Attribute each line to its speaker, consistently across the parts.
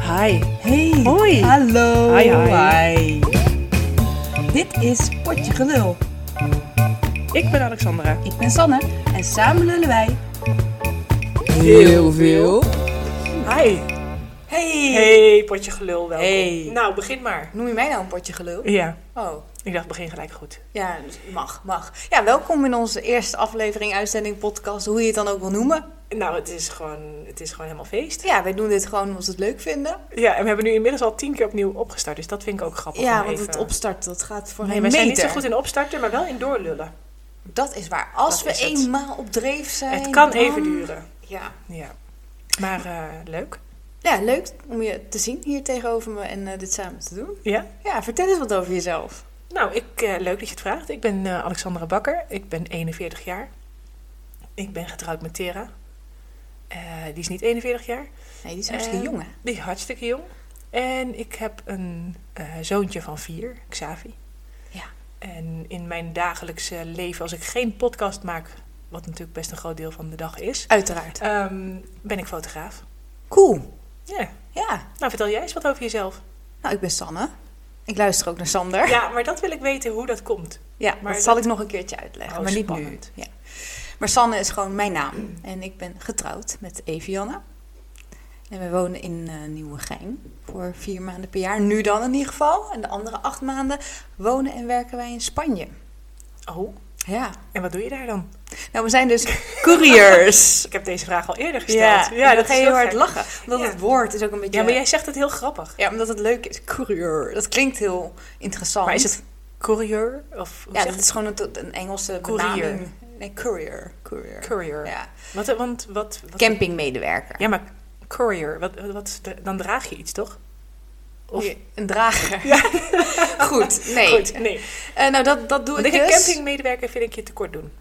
Speaker 1: Hi.
Speaker 2: Hey.
Speaker 1: Hoi.
Speaker 2: Hallo.
Speaker 1: Hi, hi.
Speaker 2: Dit is Potje Gelul.
Speaker 1: Ik ben Alexandra.
Speaker 2: Ik ben Sanne en samen lullen wij.
Speaker 1: Heel veel. Hi.
Speaker 2: Hey.
Speaker 1: Hey, potje gelul, welkom.
Speaker 2: Hey.
Speaker 1: Nou, begin maar.
Speaker 2: Noem je mij nou een Potje Gelul?
Speaker 1: Ja,
Speaker 2: Oh,
Speaker 1: ik dacht begin gelijk goed.
Speaker 2: ja, mag, mag. Ja, welkom in onze eerste aflevering, uitzending, podcast, hoe je het dan ook wil noemen.
Speaker 1: Nou, het is gewoon, het is gewoon helemaal feest.
Speaker 2: Ja, wij doen dit gewoon omdat we het leuk vinden.
Speaker 1: Ja, en we hebben nu inmiddels al tien keer opnieuw opgestart, dus dat vind ik ook grappig.
Speaker 2: Ja,
Speaker 1: om
Speaker 2: want
Speaker 1: even-
Speaker 2: het opstart, dat gaat voor
Speaker 1: Nee, wij
Speaker 2: een
Speaker 1: zijn niet
Speaker 2: meter.
Speaker 1: zo goed in opstarten, maar wel in doorlullen.
Speaker 2: Dat is waar. Als
Speaker 1: Dat is
Speaker 2: we
Speaker 1: het.
Speaker 2: eenmaal op dreef zijn...
Speaker 1: het kan
Speaker 2: dan-
Speaker 1: even duren.
Speaker 2: Ja.
Speaker 1: Ja. Maar eh, leuk.
Speaker 2: ja, leuk om je te zien hier tegenover me en eh, dit samen te doen.
Speaker 1: Ja.
Speaker 2: Ja, vertel eens wat over jezelf.
Speaker 1: Nou, ik, eh, leuk dat je het vraagt. Ik ben eh, Alexandra Bakker. Ik ben 41 jaar. Ik ben getrouwd met Tera. Eh, die is niet 41 jaar.
Speaker 2: Nee, die is
Speaker 1: hartstikke jong,
Speaker 2: hè?
Speaker 1: Die is hartstikke jong. En ik heb een eh, zoontje van vier, Xavi.
Speaker 2: Ja.
Speaker 1: En in mijn dagelijkse leven, als ik geen podcast maak, wat natuurlijk best een groot deel van de dag is,
Speaker 2: Uiteraard.
Speaker 1: ehm, ben ik fotograaf.
Speaker 2: Cool.
Speaker 1: Ja.
Speaker 2: Ja.
Speaker 1: Nou, vertel jij eens wat over jezelf.
Speaker 2: Nou, ik ben Sanne. Ik luister ook naar Sander.
Speaker 1: Ja, maar dat wil ik weten hoe dat komt.
Speaker 2: Ja,
Speaker 1: Maar
Speaker 2: dat
Speaker 1: dat-
Speaker 2: zal ik nog een keertje uitleggen.
Speaker 1: Oh,
Speaker 2: maar niet
Speaker 1: spannend.
Speaker 2: nu. Ja. Maar Sanne is gewoon mijn naam. En ik ben getrouwd met Evianne. En we wonen in eh Nieuwegein voor vier maanden per jaar. Nu dan in ieder geval. En de andere acht maanden wonen en werken wij in Spanje.
Speaker 1: Oh,
Speaker 2: Ja.
Speaker 1: en wat doe je daar dan?
Speaker 2: Nou, we zijn dus couriers.
Speaker 1: Ik heb deze vraag al eerder gesteld.
Speaker 2: ja dan ga je
Speaker 1: is
Speaker 2: heel
Speaker 1: wel
Speaker 2: hard
Speaker 1: gek.
Speaker 2: lachen. Omdat
Speaker 1: Ja.
Speaker 2: het woord is ook een beetje...
Speaker 1: Ja, maar jij zegt het heel grappig.
Speaker 2: Ja, omdat het leuk is. Courier. Dat klinkt heel interessant.
Speaker 1: Maar is het courier? Of hoe
Speaker 2: Ja,
Speaker 1: zeg
Speaker 2: dat
Speaker 1: je
Speaker 2: is gewoon een, een Engelse
Speaker 1: Courier.
Speaker 2: benaming. Nee, courier. Courier.
Speaker 1: het? courier?
Speaker 2: Ja.
Speaker 1: Wat, want wat, wat-
Speaker 2: Campingmedewerker.
Speaker 1: Ja, maar courier, wat, wat, dan draag je iets, toch? Of-
Speaker 2: Je- Een drager. Goed, nee.
Speaker 1: Goed, nee.
Speaker 2: Eh, nou, dat, dat doe
Speaker 1: Want
Speaker 2: ik
Speaker 1: ik een
Speaker 2: dus.
Speaker 1: campingmedewerker vind ik je tekort doen.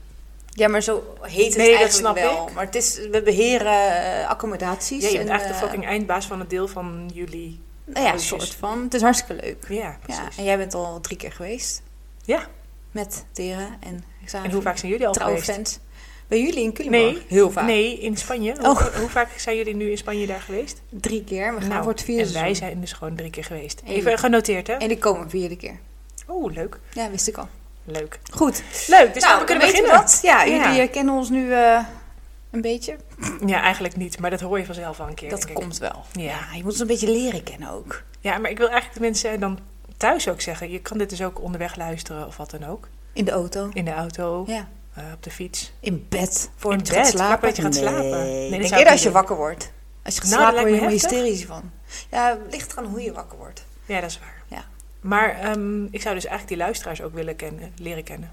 Speaker 2: Ja, maar zo heet het
Speaker 1: Nee, dat
Speaker 2: eigenlijk
Speaker 1: snap
Speaker 2: wel.
Speaker 1: ik.
Speaker 2: Maar het is, we beheren eh, accommodaties.
Speaker 1: Ja, je bent
Speaker 2: en,
Speaker 1: eigenlijk de
Speaker 2: eh,
Speaker 1: fucking eindbaas van het deel van jullie.
Speaker 2: Nou ja, een
Speaker 1: huisjes.
Speaker 2: soort van. Het is hartstikke leuk.
Speaker 1: Ja,
Speaker 2: Ja,
Speaker 1: precies.
Speaker 2: en jij bent al drie keer geweest.
Speaker 1: Ja.
Speaker 2: Met Tera en Xavier.
Speaker 1: En hoe vaak zijn jullie al geweest?
Speaker 2: Trouwfans. Bij jullie in Culemborg?
Speaker 1: Nee,
Speaker 2: Heel vaak.
Speaker 1: Nee, in Spanje. Hoe,
Speaker 2: Oh.
Speaker 1: hoe vaak zijn jullie nu in Spanje daar geweest?
Speaker 2: Drie keer. We gaan
Speaker 1: Nou,
Speaker 2: voor het vierde
Speaker 1: En wij
Speaker 2: seizoen.
Speaker 1: zijn dus gewoon drie keer geweest.
Speaker 2: Eén.
Speaker 1: Even genoteerd, hè?
Speaker 2: En die komen vierde keer.
Speaker 1: Oh, leuk.
Speaker 2: Ja, wist ik al.
Speaker 1: Leuk.
Speaker 2: Goed.
Speaker 1: Leuk, dus
Speaker 2: nou,
Speaker 1: dan kunnen we
Speaker 2: weten
Speaker 1: beginnen.
Speaker 2: dat. Ja,
Speaker 1: Ja.
Speaker 2: jullie eh, kennen ons nu eh, een beetje.
Speaker 1: Ja, eigenlijk niet, maar dat hoor je vanzelf al een keer.
Speaker 2: dat
Speaker 1: denk ik.
Speaker 2: komt wel.
Speaker 1: Ja.
Speaker 2: je moet ons een beetje leren kennen ook.
Speaker 1: Ja, maar ik wil eigenlijk de mensen dan thuis ook zeggen. Je kan dit dus ook onderweg luisteren of wat dan ook.
Speaker 2: In de auto.
Speaker 1: In de auto,
Speaker 2: Ja.
Speaker 1: eh, op de fiets.
Speaker 2: In bed. Voor
Speaker 1: In
Speaker 2: je gaat
Speaker 1: bed,
Speaker 2: slapen.
Speaker 1: voordat je gaat slapen. Nee, dat
Speaker 2: Nee,
Speaker 1: zou
Speaker 2: Denk
Speaker 1: ik
Speaker 2: eerder
Speaker 1: niet
Speaker 2: als je
Speaker 1: doen.
Speaker 2: wakker wordt. Als je gaat
Speaker 1: Nou, dat
Speaker 2: slapen
Speaker 1: lijkt
Speaker 2: word je
Speaker 1: me
Speaker 2: helemaal
Speaker 1: heftig.
Speaker 2: hysterisch van. Ja, het ligt eraan hoe je wakker wordt.
Speaker 1: Ja, dat is waar.
Speaker 2: Ja.
Speaker 1: Maar ehm, ik zou dus eigenlijk die luisteraars ook willen kennen, leren kennen.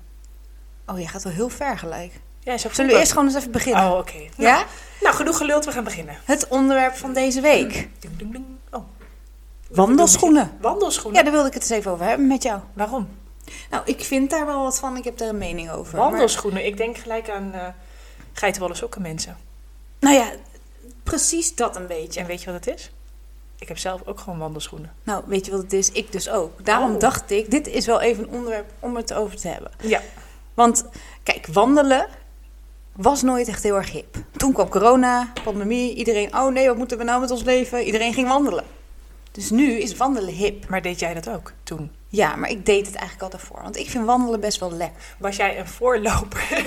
Speaker 2: Oh, je gaat wel heel ver gelijk.
Speaker 1: Ja, zo
Speaker 2: Zullen we eerst gewoon eens even beginnen?
Speaker 1: Oh, oké. Nou,
Speaker 2: Ja?
Speaker 1: nou, genoeg geluld, we gaan beginnen.
Speaker 2: Het onderwerp van deze week.
Speaker 1: Ding, ding, ding. Oh,
Speaker 2: Wandelschoenen.
Speaker 1: wandelschoenen.
Speaker 2: Ja, daar wilde ik het eens even over hebben met jou.
Speaker 1: Waarom?
Speaker 2: Nou, ik vind daar wel wat van. Ik heb daar een mening over. maar-
Speaker 1: Wandelschoenen. Ik denk gelijk aan eh geitenwolle sokken, mensen.
Speaker 2: Nou ja, precies dat een beetje.
Speaker 1: En weet je wat het is? Ik heb zelf ook gewoon wandelschoenen.
Speaker 2: Nou, weet je wat het is? Ik dus ook. Daarom
Speaker 1: Oh.
Speaker 2: dacht ik, dit is wel even een onderwerp om het over te hebben.
Speaker 1: Ja.
Speaker 2: Want kijk, wandelen was nooit echt heel erg hip. Toen kwam corona, pandemie, iedereen, oh nee, wat moeten we nou met ons leven? Iedereen ging wandelen. Dus nu is wandelen hip.
Speaker 1: Maar deed jij dat ook toen?
Speaker 2: Ja, maar ik deed het eigenlijk al daarvoor. Want ik vind wandelen best wel lekker.
Speaker 1: Was jij een voorloper?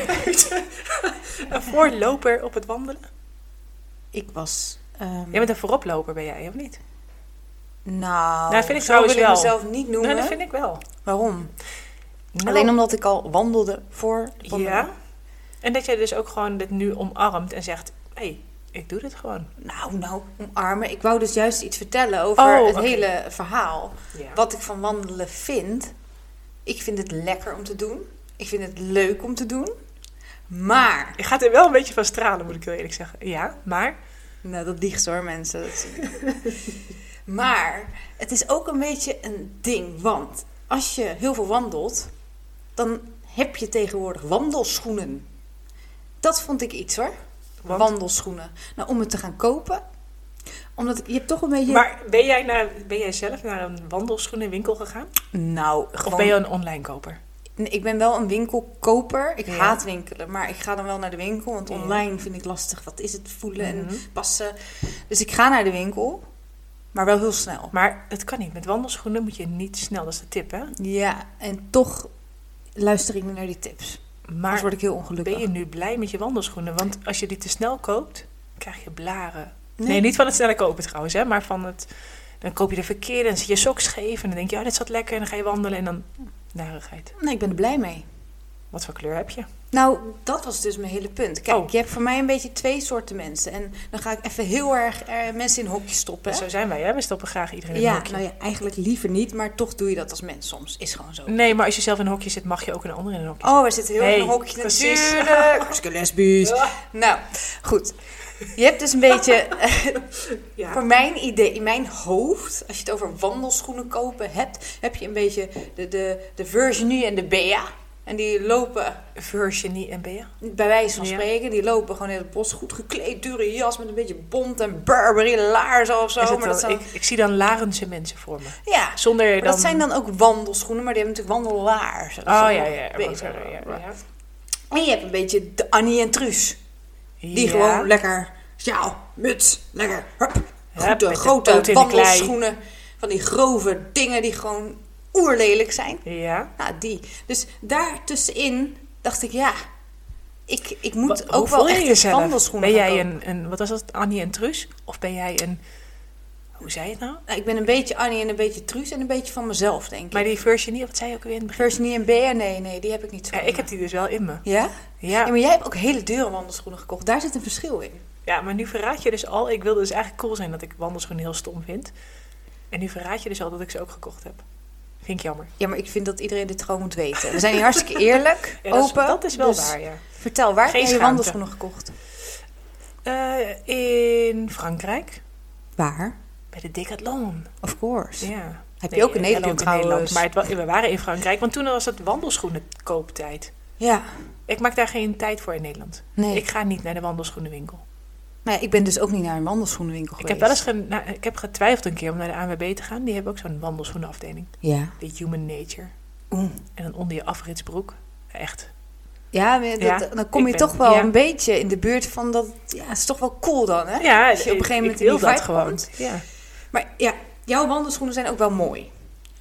Speaker 1: een voorloper op het wandelen?
Speaker 2: Ik was... ehm,
Speaker 1: Jij bent een vooroploper, ben jij, of niet?
Speaker 2: Nou,
Speaker 1: Nou, vind ik
Speaker 2: zo
Speaker 1: trouwens
Speaker 2: wil ik
Speaker 1: wel.
Speaker 2: mezelf niet noemen.
Speaker 1: Nou, dat vind ik wel.
Speaker 2: Waarom?
Speaker 1: Nou,
Speaker 2: Alleen omdat ik al wandelde voor de pandemie.
Speaker 1: Ja. En dat jij dus ook gewoon dit nu omarmt en zegt: hé, hey, ik doe dit gewoon.
Speaker 2: Nou, nou, omarmen. Ik wou dus juist iets vertellen over
Speaker 1: Oh,
Speaker 2: het
Speaker 1: oké.
Speaker 2: hele verhaal.
Speaker 1: Ja.
Speaker 2: Wat ik van wandelen vind. Ik vind het lekker om te doen. Ik vind het leuk om te doen. Maar,
Speaker 1: Je gaat er wel een beetje van stralen, moet ik heel eerlijk zeggen. Ja, maar.
Speaker 2: nou dat dicht hoor mensen. Dat zie je. maar, het is ook een beetje een ding. Want als je heel veel wandelt, dan heb je tegenwoordig wandelschoenen. Dat vond ik iets hoor.
Speaker 1: Want?
Speaker 2: Wandelschoenen. Nou, om het te gaan kopen. Omdat ik, je hebt toch een beetje...
Speaker 1: Maar ben jij, naar, ben jij zelf naar een wandelschoenenwinkel gegaan?
Speaker 2: Nou, gewoon...
Speaker 1: Of ben je een online koper?
Speaker 2: Nee, Ik ben wel een winkelkoper. Ik
Speaker 1: Ja.
Speaker 2: haat winkelen, maar ik ga dan wel naar de winkel. Want
Speaker 1: Ja.
Speaker 2: online vind ik lastig. Wat is het voelen
Speaker 1: Mhm.
Speaker 2: en passen? Dus ik ga naar de winkel. Maar wel heel snel.
Speaker 1: Maar het kan niet. Met wandelschoenen moet je niet snel. Dat is de tip, hè?
Speaker 2: Ja, en toch luister ik niet naar die tips. Anders
Speaker 1: Maar
Speaker 2: word ik heel ongelukkig.
Speaker 1: ben je nu blij met je wandelschoenen? Want als je die te snel koopt, krijg je blaren.
Speaker 2: Nee.
Speaker 1: Nee, niet van het snelle kopen trouwens, hè? Maar van het... Dan koop je de verkeerde en zit je sok scheef. En dan denk je, ja, dit zat lekker. En dan ga je wandelen en dan... Narigheid.
Speaker 2: Nee, ik ben er blij mee.
Speaker 1: Wat voor kleur heb je?
Speaker 2: Nou, dat was dus mijn hele punt. Kijk,
Speaker 1: Oh.
Speaker 2: je hebt voor mij een beetje twee soorten mensen. En dan ga ik even heel erg eh, mensen in hokjes stoppen.
Speaker 1: Zo zijn wij, hè? We stoppen graag iedereen in een
Speaker 2: ja,
Speaker 1: hokje.
Speaker 2: nou ja, eigenlijk liever niet, maar toch doe je dat als mens soms. Is gewoon zo.
Speaker 1: Nee, maar als je zelf in een hokje zit, mag je ook een ander in een hokje
Speaker 2: Oh, we zitten heel erg in een
Speaker 1: Nee,
Speaker 2: hokje
Speaker 1: precies.
Speaker 2: natuurlijk. Hartstikke lesbisch. Nou, goed. Je hebt dus een beetje,
Speaker 1: zitten. Ja.
Speaker 2: voor mijn idee, in mijn hoofd, als je het over wandelschoenen kopen hebt, heb je een beetje de, de, de Virginie en de Bea. En die lopen
Speaker 1: Virginie en Bea.
Speaker 2: bij wijze van
Speaker 1: Ja.
Speaker 2: spreken, die lopen gewoon in het bos goed gekleed, dure jas met een beetje bont en Burberry laarzen of zo.
Speaker 1: Is het
Speaker 2: maar dat
Speaker 1: dan-
Speaker 2: zijn,
Speaker 1: ik, ik zie dan Larense mensen voor me.
Speaker 2: ja,
Speaker 1: Zonder
Speaker 2: maar
Speaker 1: dan...
Speaker 2: dat zijn dan ook wandelschoenen, maar die hebben natuurlijk wandelaarzen. Dat is
Speaker 1: Oh ja,
Speaker 2: dan
Speaker 1: ja,
Speaker 2: nog
Speaker 1: ja,
Speaker 2: beter.
Speaker 1: ja, ja, ja.
Speaker 2: En je hebt een beetje de Annie en Truus, die
Speaker 1: Ja.
Speaker 2: gewoon lekker, sjaal, muts, lekker, hup.
Speaker 1: Hup,
Speaker 2: Goede,
Speaker 1: met de
Speaker 2: grote
Speaker 1: poot in de klei.
Speaker 2: wandelschoenen, van die grove dingen die gewoon oerlelijk zijn.
Speaker 1: Ja.
Speaker 2: Nou, die. Dus daartussenin dacht ik, ja, ik, ik moet
Speaker 1: Wat-
Speaker 2: ook
Speaker 1: hoe voel
Speaker 2: wel
Speaker 1: je
Speaker 2: echt
Speaker 1: jezelf?
Speaker 2: wandelschoenen
Speaker 1: Ben
Speaker 2: gaan
Speaker 1: jij
Speaker 2: kopen.
Speaker 1: een, een, wat was dat, Annie en Truus? Of ben jij een, hoe zei je het nou?
Speaker 2: Nou, ik ben een beetje Annie en een beetje Truus en een beetje van mezelf, denk ik.
Speaker 1: Maar die Virginie, wat zei je ook weer in het begin?
Speaker 2: Virginie en Bea, nee, nee, die heb ik niet zo.
Speaker 1: Ja, ik heb die dus wel in me.
Speaker 2: Ja? Ja,
Speaker 1: Ja.
Speaker 2: maar jij hebt ook hele dure wandelschoenen gekocht. Daar zit een verschil in.
Speaker 1: ja, maar nu verraad je dus al, ik wilde dus eigenlijk cool zijn dat ik wandelschoenen heel stom vind. En nu verraad je dus al dat ik ze ook gekocht heb. Vind ik jammer.
Speaker 2: Ja, maar ik vind dat iedereen dit gewoon moet weten. We zijn hier hartstikke eerlijk,
Speaker 1: Ja, dat,
Speaker 2: open.
Speaker 1: is, dat is wel
Speaker 2: dus
Speaker 1: waar, ja.
Speaker 2: Vertel, waar
Speaker 1: Geen
Speaker 2: heb je
Speaker 1: schaamte.
Speaker 2: wandelschoenen gekocht?
Speaker 1: Eh, in Frankrijk,
Speaker 2: Waar?
Speaker 1: bij de Decathlon.
Speaker 2: Of course.
Speaker 1: Ja.
Speaker 2: Heb je
Speaker 1: Nee,
Speaker 2: ook in
Speaker 1: eh,
Speaker 2: Nederland
Speaker 1: heb ik in
Speaker 2: trouwens.
Speaker 1: Nederland, maar het wa- we waren in Frankrijk, want toen was het wandelschoenenkooptijd.
Speaker 2: Ja,
Speaker 1: Ik maak daar geen tijd voor in Nederland.
Speaker 2: nee.
Speaker 1: Ik
Speaker 2: Ik...
Speaker 1: ga niet naar de wandelschoenenwinkel.
Speaker 2: Nou, ja, ik ben dus ook niet naar een wandelschoenenwinkel
Speaker 1: Ik heb
Speaker 2: geweest.
Speaker 1: wel eens ge- nou, ik heb getwijfeld een keer om naar de ANWB te gaan. Die hebben ook zo'n wandelschoenenafdeling.
Speaker 2: Ja.
Speaker 1: De Human Nature.
Speaker 2: Oeh.
Speaker 1: En dan onder je afritsbroek. Echt.
Speaker 2: Mm. Ja, maar dat-
Speaker 1: Ja,
Speaker 2: dan kom
Speaker 1: ik
Speaker 2: je
Speaker 1: ben-
Speaker 2: toch wel
Speaker 1: ja.
Speaker 2: een beetje in de buurt van dat... Ja, het is toch wel cool dan, hè?
Speaker 1: Ja,
Speaker 2: Als je op een gegeven moment
Speaker 1: ik wil
Speaker 2: in die
Speaker 1: dat
Speaker 2: vibe
Speaker 1: gewoon.
Speaker 2: komt.
Speaker 1: Ja.
Speaker 2: Maar ja, jouw wandelschoenen zijn ook wel mooi.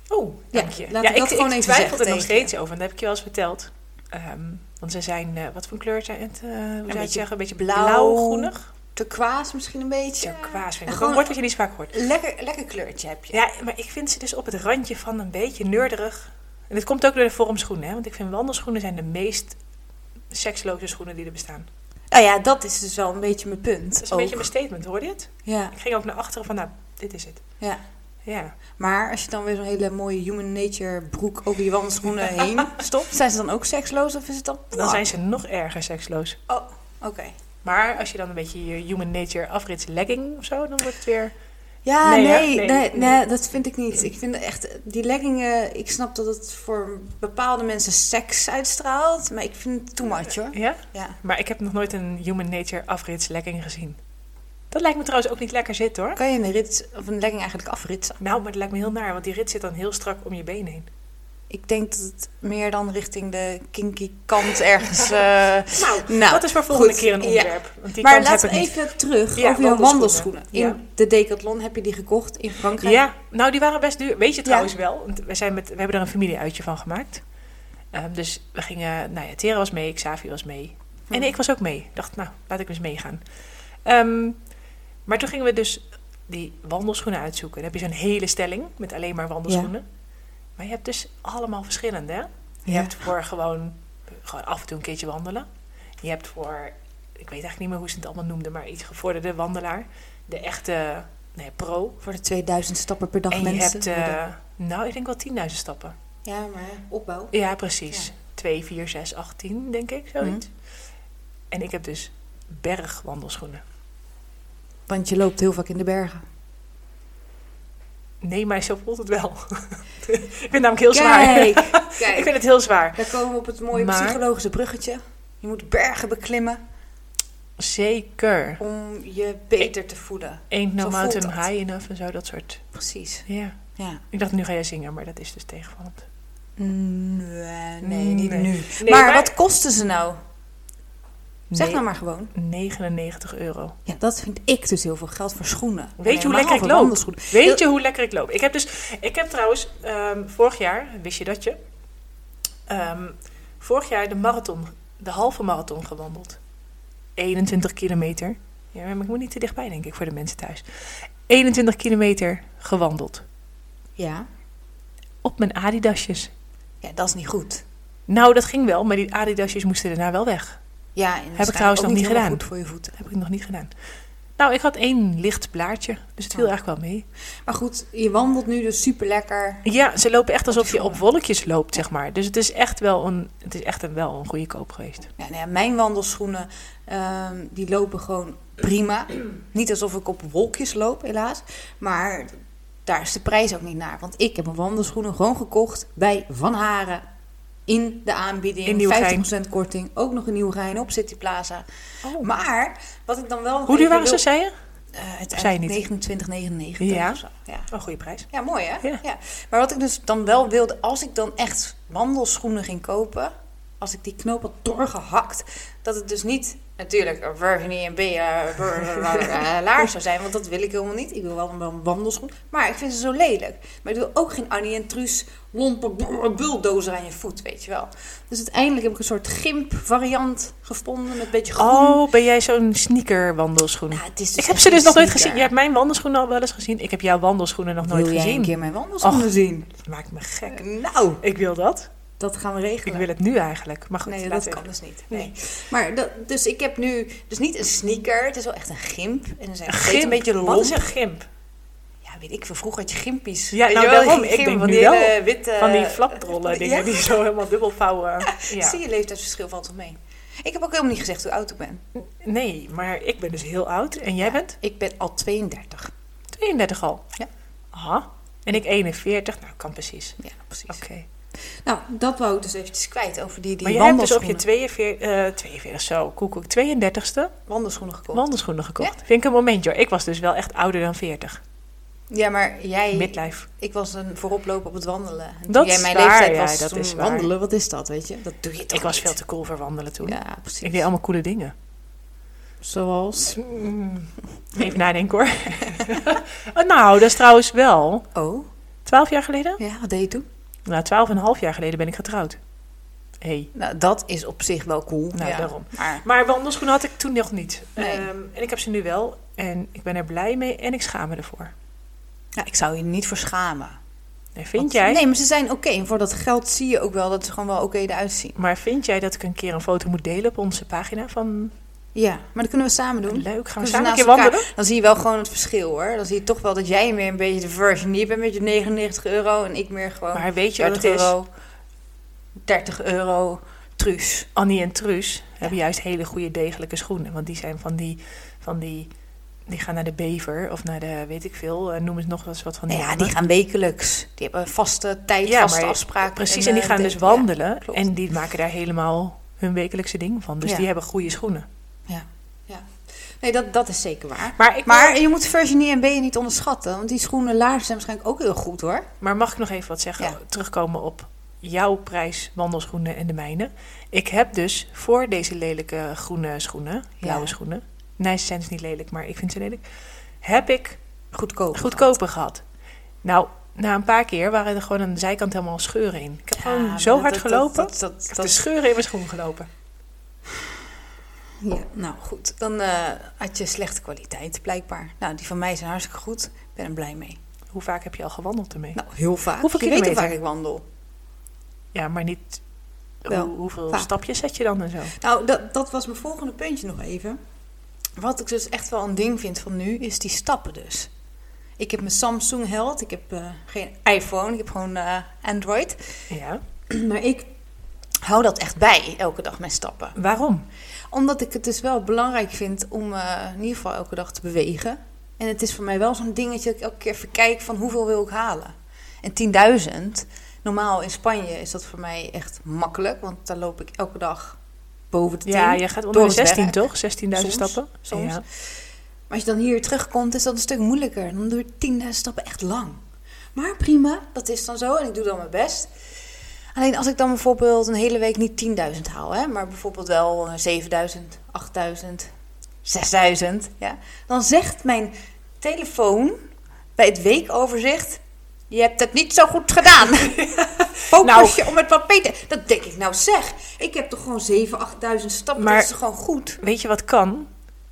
Speaker 1: Oh,
Speaker 2: Ja,
Speaker 1: dank je.
Speaker 2: laat ik dat gewoon even
Speaker 1: twijfel
Speaker 2: zeggen
Speaker 1: er nog
Speaker 2: tegen je.
Speaker 1: steeds over. En dat heb ik je wel eens verteld. Ehm, want ze zijn, eh, wat voor kleur zijn het? eh, hoe zou je het
Speaker 2: beetje
Speaker 1: zeggen? Een beetje
Speaker 2: blauw,
Speaker 1: blauw-groenig.
Speaker 2: Turquoise misschien een beetje.
Speaker 1: Turquoise vind ik.
Speaker 2: En
Speaker 1: Gewoon
Speaker 2: gewoon
Speaker 1: een woord wat je niet zo vaak hoort.
Speaker 2: Lekker, lekker kleurtje heb je.
Speaker 1: Ja, maar ik vind ze dus op het randje van een beetje neurderig. En dit komt ook door de vorm schoenen, hè? Want ik vind wandelschoenen zijn de meest seksloze schoenen die er bestaan.
Speaker 2: Nou ja, dat is dus wel een beetje mijn punt.
Speaker 1: Dat is een beetje mijn statement, hoor je het?
Speaker 2: Ja,
Speaker 1: Ik ging ook naar achteren van, nou, dit is het.
Speaker 2: ja.
Speaker 1: Ja.
Speaker 2: Maar als je dan weer zo'n hele mooie human nature broek over je wandelschoenen heen stopt, zijn ze dan ook seksloos of is het dan...
Speaker 1: Dan zijn ze nog erger seksloos.
Speaker 2: Oh, oké.
Speaker 1: Maar als je dan een beetje je human nature afrits legging of zo, dan wordt het weer...
Speaker 2: Ja, nee
Speaker 1: Nee, hè?
Speaker 2: nee, nee,
Speaker 1: Nee, nee.
Speaker 2: dat vind ik niet. Ik vind echt, die leggingen, ik snap dat het voor bepaalde mensen seks uitstraalt, maar ik vind het too much hoor.
Speaker 1: Ja?
Speaker 2: Ja.
Speaker 1: Maar ik heb nog nooit een human nature afrits legging gezien. Dat lijkt me trouwens ook niet lekker zitten, hoor.
Speaker 2: Kan je een rit of een legging eigenlijk afritsen?
Speaker 1: Nou, maar dat lijkt me heel naar, want die rit zit dan heel strak om je been heen.
Speaker 2: Ik denk dat het meer dan richting de kinky kant ergens. eh,
Speaker 1: Nou,
Speaker 2: nou,
Speaker 1: dat is voor volgende
Speaker 2: goed,
Speaker 1: keer een
Speaker 2: ja.
Speaker 1: onderwerp. Want die
Speaker 2: maar
Speaker 1: kant heb
Speaker 2: laten
Speaker 1: ik
Speaker 2: we
Speaker 1: niet.
Speaker 2: even terug
Speaker 1: Ja,
Speaker 2: over jouw wandelschoenen.
Speaker 1: wandelschoenen.
Speaker 2: In de Decathlon heb je die gekocht in Frankrijk.
Speaker 1: Ja, nou die waren best duur. Weet je
Speaker 2: Ja.
Speaker 1: trouwens wel, want we, zijn met, we hebben er een familieuitje van gemaakt. Ehm, dus we gingen, nou ja, Tera was mee, Xavi was mee. En
Speaker 2: Hm.
Speaker 1: ik was ook mee. Ik dacht, nou, laat ik eens meegaan. Ehm, maar toen gingen we dus die wandelschoenen uitzoeken. Dan heb je zo'n hele stelling met alleen maar wandelschoenen. Maar je hebt dus allemaal verschillende. Hè? Je
Speaker 2: Ja.
Speaker 1: hebt voor gewoon, gewoon af en toe een keertje wandelen. Je hebt voor, ik weet eigenlijk niet meer hoe ze het allemaal noemden, maar iets gevorderde wandelaar. De echte nee, pro.
Speaker 2: Voor de 2000 stappen per dag
Speaker 1: En je
Speaker 2: mensen.
Speaker 1: hebt, eh, nou, ik denk wel 10.000 stappen.
Speaker 2: Ja, maar opbouw.
Speaker 1: Ja, precies.
Speaker 2: Ja. Mhm.
Speaker 1: 2, 4, 6, 18, denk ik, zoiets. En ik heb dus bergwandelschoenen.
Speaker 2: Want je loopt heel vaak in de bergen.
Speaker 1: Nee, maar zo voelt het wel. ik vind het namelijk heel zwaar.
Speaker 2: kijk.
Speaker 1: Ik vind het heel zwaar.
Speaker 2: Daar komen we op het mooie
Speaker 1: Maar-
Speaker 2: psychologische bruggetje. Je moet bergen beklimmen
Speaker 1: Zeker.
Speaker 2: om je beter te voelen.
Speaker 1: Ain't
Speaker 2: Zo
Speaker 1: no
Speaker 2: voelt
Speaker 1: mountain
Speaker 2: dat.
Speaker 1: high enough en zo, dat soort.
Speaker 2: Precies.
Speaker 1: Ja.
Speaker 2: Ja.
Speaker 1: Ik dacht, nu ga jij zingen, maar dat is dus tegenvallend.
Speaker 2: Mm, Nee, nee, niet
Speaker 1: Nee.
Speaker 2: nu.
Speaker 1: Mm, Nee,
Speaker 2: maar,
Speaker 1: maar-
Speaker 2: wat kosten ze nou? Zeg
Speaker 1: Nee.
Speaker 2: nou maar gewoon.
Speaker 1: 99 euro.
Speaker 2: Ja, dat vind ik dus heel veel geld voor schoenen.
Speaker 1: Weet je hoe lekker ik
Speaker 2: voor
Speaker 1: loop?
Speaker 2: wandelschoenen.
Speaker 1: Weet je hoe lekker ik loop? Ik heb dus, ik heb trouwens ehm, vorig jaar, wist je dat je? Ehm, vorig jaar de marathon, de halve marathon gewandeld. 21 kilometer. Ja, maar ik moet niet te dichtbij, denk ik, voor de mensen thuis. 21 kilometer gewandeld.
Speaker 2: Ja.
Speaker 1: Op mijn Adidasjes.
Speaker 2: ja, dat is niet goed.
Speaker 1: Nou, dat ging wel, maar die Adidasjes moesten daarna wel weg.
Speaker 2: Ja, en
Speaker 1: ik trouwens
Speaker 2: ook
Speaker 1: nog niet
Speaker 2: helemaal
Speaker 1: gedaan.
Speaker 2: goed voor je voeten.
Speaker 1: Dat heb ik nog niet gedaan. Nou, ik had één licht blaadje, dus het viel
Speaker 2: Oh.
Speaker 1: eigenlijk wel mee.
Speaker 2: Maar goed, je wandelt nu dus super lekker.
Speaker 1: Ja, ze lopen echt alsof je op wolkjes loopt, zeg maar. Dus het is echt wel een, het is echt een, wel een goede koop geweest.
Speaker 2: Ja, nou ja, mijn wandelschoenen ehm, die lopen gewoon prima. Niet alsof ik op wolkjes loop, helaas. Maar daar is de prijs ook niet naar. Want ik heb mijn wandelschoenen gewoon gekocht bij Van Haren. In de aanbieding.
Speaker 1: In Nieuwegein.
Speaker 2: 50% korting. Ook nog een nieuw Rijn op City Plaza. Maar wat ik dan wel. nog
Speaker 1: Hoe duur
Speaker 2: Oh, even
Speaker 1: waren ze,
Speaker 2: wil-
Speaker 1: zei je?
Speaker 2: Eh,
Speaker 1: Zei je niet?
Speaker 2: uiteindelijk 29,99
Speaker 1: Ja.
Speaker 2: of zo. Ja.
Speaker 1: Een goede prijs.
Speaker 2: Ja, mooi hè?
Speaker 1: Ja.
Speaker 2: Ja. Maar wat ik dus dan wel wilde, als ik dan echt wandelschoenen ging kopen, als ik die knoop had doorgehakt, dat het dus niet natuurlijk een Virginie en B laars zou zijn, want dat wil ik helemaal niet. Ik wil wel een wandelschoen, maar ik vind ze zo lelijk. Maar ik wil ook geen Annie en Truus lompe brrr, bulldozer aan je voet, weet je wel. Dus uiteindelijk heb ik een soort gimp variant gevonden met een beetje groen.
Speaker 1: Oh, ben jij zo'n sneakerwandelschoen?
Speaker 2: Nou, het is dus
Speaker 1: ik heb
Speaker 2: echt
Speaker 1: ze dus
Speaker 2: geen
Speaker 1: nog nooit
Speaker 2: sneaker.
Speaker 1: gezien. Je hebt mijn wandelschoenen al wel eens gezien. Ik heb jouw wandelschoenen nog nooit
Speaker 2: Wil jij een
Speaker 1: gezien.
Speaker 2: keer mijn wandelschoenen zien?
Speaker 1: Dat maakt me gek.
Speaker 2: Nou,
Speaker 1: Ik wil dat.
Speaker 2: dat gaan we regelen.
Speaker 1: Ik wil het nu eigenlijk. Maar goed,
Speaker 2: Nee, dat
Speaker 1: laten we-
Speaker 2: kan dus niet. Nee. Maar dat, dus ik heb nu dus niet een sneaker. Het is wel echt een gimp. En dan zijn
Speaker 1: Een
Speaker 2: het steeds
Speaker 1: gimp.
Speaker 2: een beetje
Speaker 1: Wat is
Speaker 2: lomp. Eh,
Speaker 1: een gimp?
Speaker 2: Ja, weet ik veel. Vroeger had je gimpies.
Speaker 1: Ja,
Speaker 2: Weet
Speaker 1: nou,
Speaker 2: je wel,
Speaker 1: daarom.
Speaker 2: die
Speaker 1: Ik
Speaker 2: gimp
Speaker 1: denk
Speaker 2: van
Speaker 1: nu
Speaker 2: die
Speaker 1: wel.
Speaker 2: hele witte...
Speaker 1: Van die flaprollen dingen
Speaker 2: Ja.
Speaker 1: die zo helemaal dubbel vouwen. Ja.
Speaker 2: Zie je leeftijdsverschil valt wel mee. Ik heb ook helemaal niet gezegd hoe oud ik ben.
Speaker 1: Nee, maar ik ben dus heel oud. En jij bent?
Speaker 2: Ik ben al 32.
Speaker 1: 32 al.
Speaker 2: Ja.
Speaker 1: Aha. En ik 41. Nou, kan precies.
Speaker 2: Ja, precies.
Speaker 1: Oké.
Speaker 2: Nou, dat wou ik dus eventjes kwijt over die, die
Speaker 1: Maar jij hebt dus op je
Speaker 2: wandelschoenen.
Speaker 1: 42, eh 42 zo, koekoek, 32e
Speaker 2: wandelschoenen gekocht.
Speaker 1: wandelschoenen gekocht. Vind ik een momentje hoor. Ik was dus wel echt ouder dan 40.
Speaker 2: ja, maar jij...
Speaker 1: Midlife.
Speaker 2: Ik was een vooroploper op het wandelen. En toen
Speaker 1: Dat
Speaker 2: jij
Speaker 1: is
Speaker 2: mijn
Speaker 1: waar,
Speaker 2: leeftijd
Speaker 1: ja,
Speaker 2: was,
Speaker 1: dat
Speaker 2: toen
Speaker 1: is waar.
Speaker 2: wandelen, wat is dat, weet je? Dat doe je toch
Speaker 1: Ik was
Speaker 2: niet?
Speaker 1: veel te cool voor wandelen toen.
Speaker 2: Ja, precies.
Speaker 1: Ik deed allemaal coole dingen.
Speaker 2: Zoals?
Speaker 1: Even nadenken hoor. Oh, nou, dat is trouwens wel
Speaker 2: Oh,
Speaker 1: 12 jaar geleden.
Speaker 2: ja, wat deed je toen?
Speaker 1: Nou, 12 en een half jaar geleden ben ik getrouwd. Hé. Hey.
Speaker 2: Nou, dat is op zich wel cool.
Speaker 1: Nou, daarom.
Speaker 2: Maar,
Speaker 1: Maar wandelschoenen had ik toen nog niet.
Speaker 2: Nee.
Speaker 1: Ehm, en ik heb ze nu wel. En ik ben er blij mee en ik schaam me ervoor.
Speaker 2: nou, ik zou je niet voor schamen.
Speaker 1: En vind
Speaker 2: Want-
Speaker 1: jij?
Speaker 2: Nee, maar ze zijn oké. En voor dat geld zie je ook wel dat ze gewoon wel oké eruit zien.
Speaker 1: Maar vind jij dat ik een keer een foto moet delen op onze pagina van
Speaker 2: Ja, maar dat kunnen we samen doen.
Speaker 1: leuk, gaan we
Speaker 2: Kunnen
Speaker 1: samen een
Speaker 2: naast
Speaker 1: keer
Speaker 2: elkaar-
Speaker 1: wandelen?
Speaker 2: Dan zie je wel gewoon het verschil hoor. Dan zie je toch wel dat jij meer een beetje de Virginie bent met je 99 euro. En ik meer gewoon
Speaker 1: Maar weet je wat
Speaker 2: 30
Speaker 1: het is?
Speaker 2: euro. 30 euro truus.
Speaker 1: Annie en Truus hebben juist hele goede degelijke schoenen. Want die zijn van die, van die, die gaan naar de bever of naar de, weet ik veel, eh, noem eens nog eens wat van die.
Speaker 2: Nou ja,
Speaker 1: namen.
Speaker 2: die gaan wekelijks. Die hebben een vaste tijd,
Speaker 1: Ja,
Speaker 2: vaste
Speaker 1: maar-
Speaker 2: afspraken.
Speaker 1: Precies, en die
Speaker 2: eh,
Speaker 1: gaan
Speaker 2: de-
Speaker 1: dus wandelen.
Speaker 2: klopt.
Speaker 1: en die maken daar helemaal hun wekelijkse ding van. Dus
Speaker 2: Ja.
Speaker 1: die hebben goede schoenen.
Speaker 2: Ja, ja. Nee, dat, dat is zeker waar.
Speaker 1: Maar, ik
Speaker 2: Maar je moet Virginie en B niet onderschatten. Want die schoenen laars zijn waarschijnlijk ook heel goed hoor.
Speaker 1: Maar mag ik nog even wat zeggen?
Speaker 2: Ja.
Speaker 1: Terugkomen op jouw prijs wandelschoenen en de mijne. Ik heb dus voor deze lelijke groene schoenen, blauwe
Speaker 2: Ja.
Speaker 1: schoenen. Nee, ze zijn dus niet lelijk, maar ik vind ze lelijk. Heb ik
Speaker 2: Goedkoop.
Speaker 1: goedkoper gehad. Nou, na een paar keer waren er gewoon aan de zijkant helemaal scheuren in. Ik heb
Speaker 2: Ja,
Speaker 1: gewoon
Speaker 2: maar
Speaker 1: zo
Speaker 2: dat-
Speaker 1: hard
Speaker 2: dat-
Speaker 1: gelopen.
Speaker 2: Dat, dat,
Speaker 1: ik
Speaker 2: dat,
Speaker 1: heb dus- de scheuren in mijn schoen gelopen.
Speaker 2: ja, nou goed, dan eh, had je slechte kwaliteit blijkbaar. Nou, die van mij zijn hartstikke goed. Ik ben er blij mee.
Speaker 1: Hoe vaak heb je al gewandeld ermee?
Speaker 2: Nou, heel vaak.
Speaker 1: Hoeveel
Speaker 2: je weet hoe
Speaker 1: kilometer?
Speaker 2: vaak ik wandel.
Speaker 1: Ja, maar niet hoe-
Speaker 2: Wel,
Speaker 1: hoeveel
Speaker 2: vaak.
Speaker 1: stapjes zet je dan en zo.
Speaker 2: Nou, dat, dat was mijn volgende puntje nog even. Wat ik dus echt wel een ding vind van nu, is die stappen dus. Ik heb mijn Samsung held, ik heb eh, geen iPhone, ik heb gewoon eh, Android.
Speaker 1: Ja.
Speaker 2: Maar ik hou dat echt bij, elke dag mijn stappen.
Speaker 1: Waarom?
Speaker 2: Omdat ik het dus wel belangrijk vind om eh, in ieder geval elke dag te bewegen. En het is voor mij wel zo'n dingetje dat ik elke keer even kijk van hoeveel wil ik halen. En 10.000, normaal in Spanje is dat voor mij echt makkelijk. Want daar loop ik elke dag boven de 10.
Speaker 1: Ja, je gaat onder
Speaker 2: door
Speaker 1: de
Speaker 2: het
Speaker 1: 16
Speaker 2: werk.
Speaker 1: toch? 16.000
Speaker 2: Soms,
Speaker 1: stappen?
Speaker 2: soms.
Speaker 1: Ja.
Speaker 2: Maar als je dan hier terugkomt, is dat een stuk moeilijker. Dan duurt 10.000 stappen echt lang. Maar prima, dat is dan zo en ik doe dan mijn best. Alleen als ik dan bijvoorbeeld een hele week niet 10.000 haal, hè, maar bijvoorbeeld wel eh, 7.000, 8.000, 6.000, ja, dan zegt mijn telefoon bij het weekoverzicht: Je hebt het niet zo goed gedaan. Focus je om het wat beter. Dat denk ik nou zeg. Ik heb toch gewoon 7.000, 8.000 stappen.
Speaker 1: Maar-
Speaker 2: dat is toch gewoon goed.
Speaker 1: Weet je wat kan?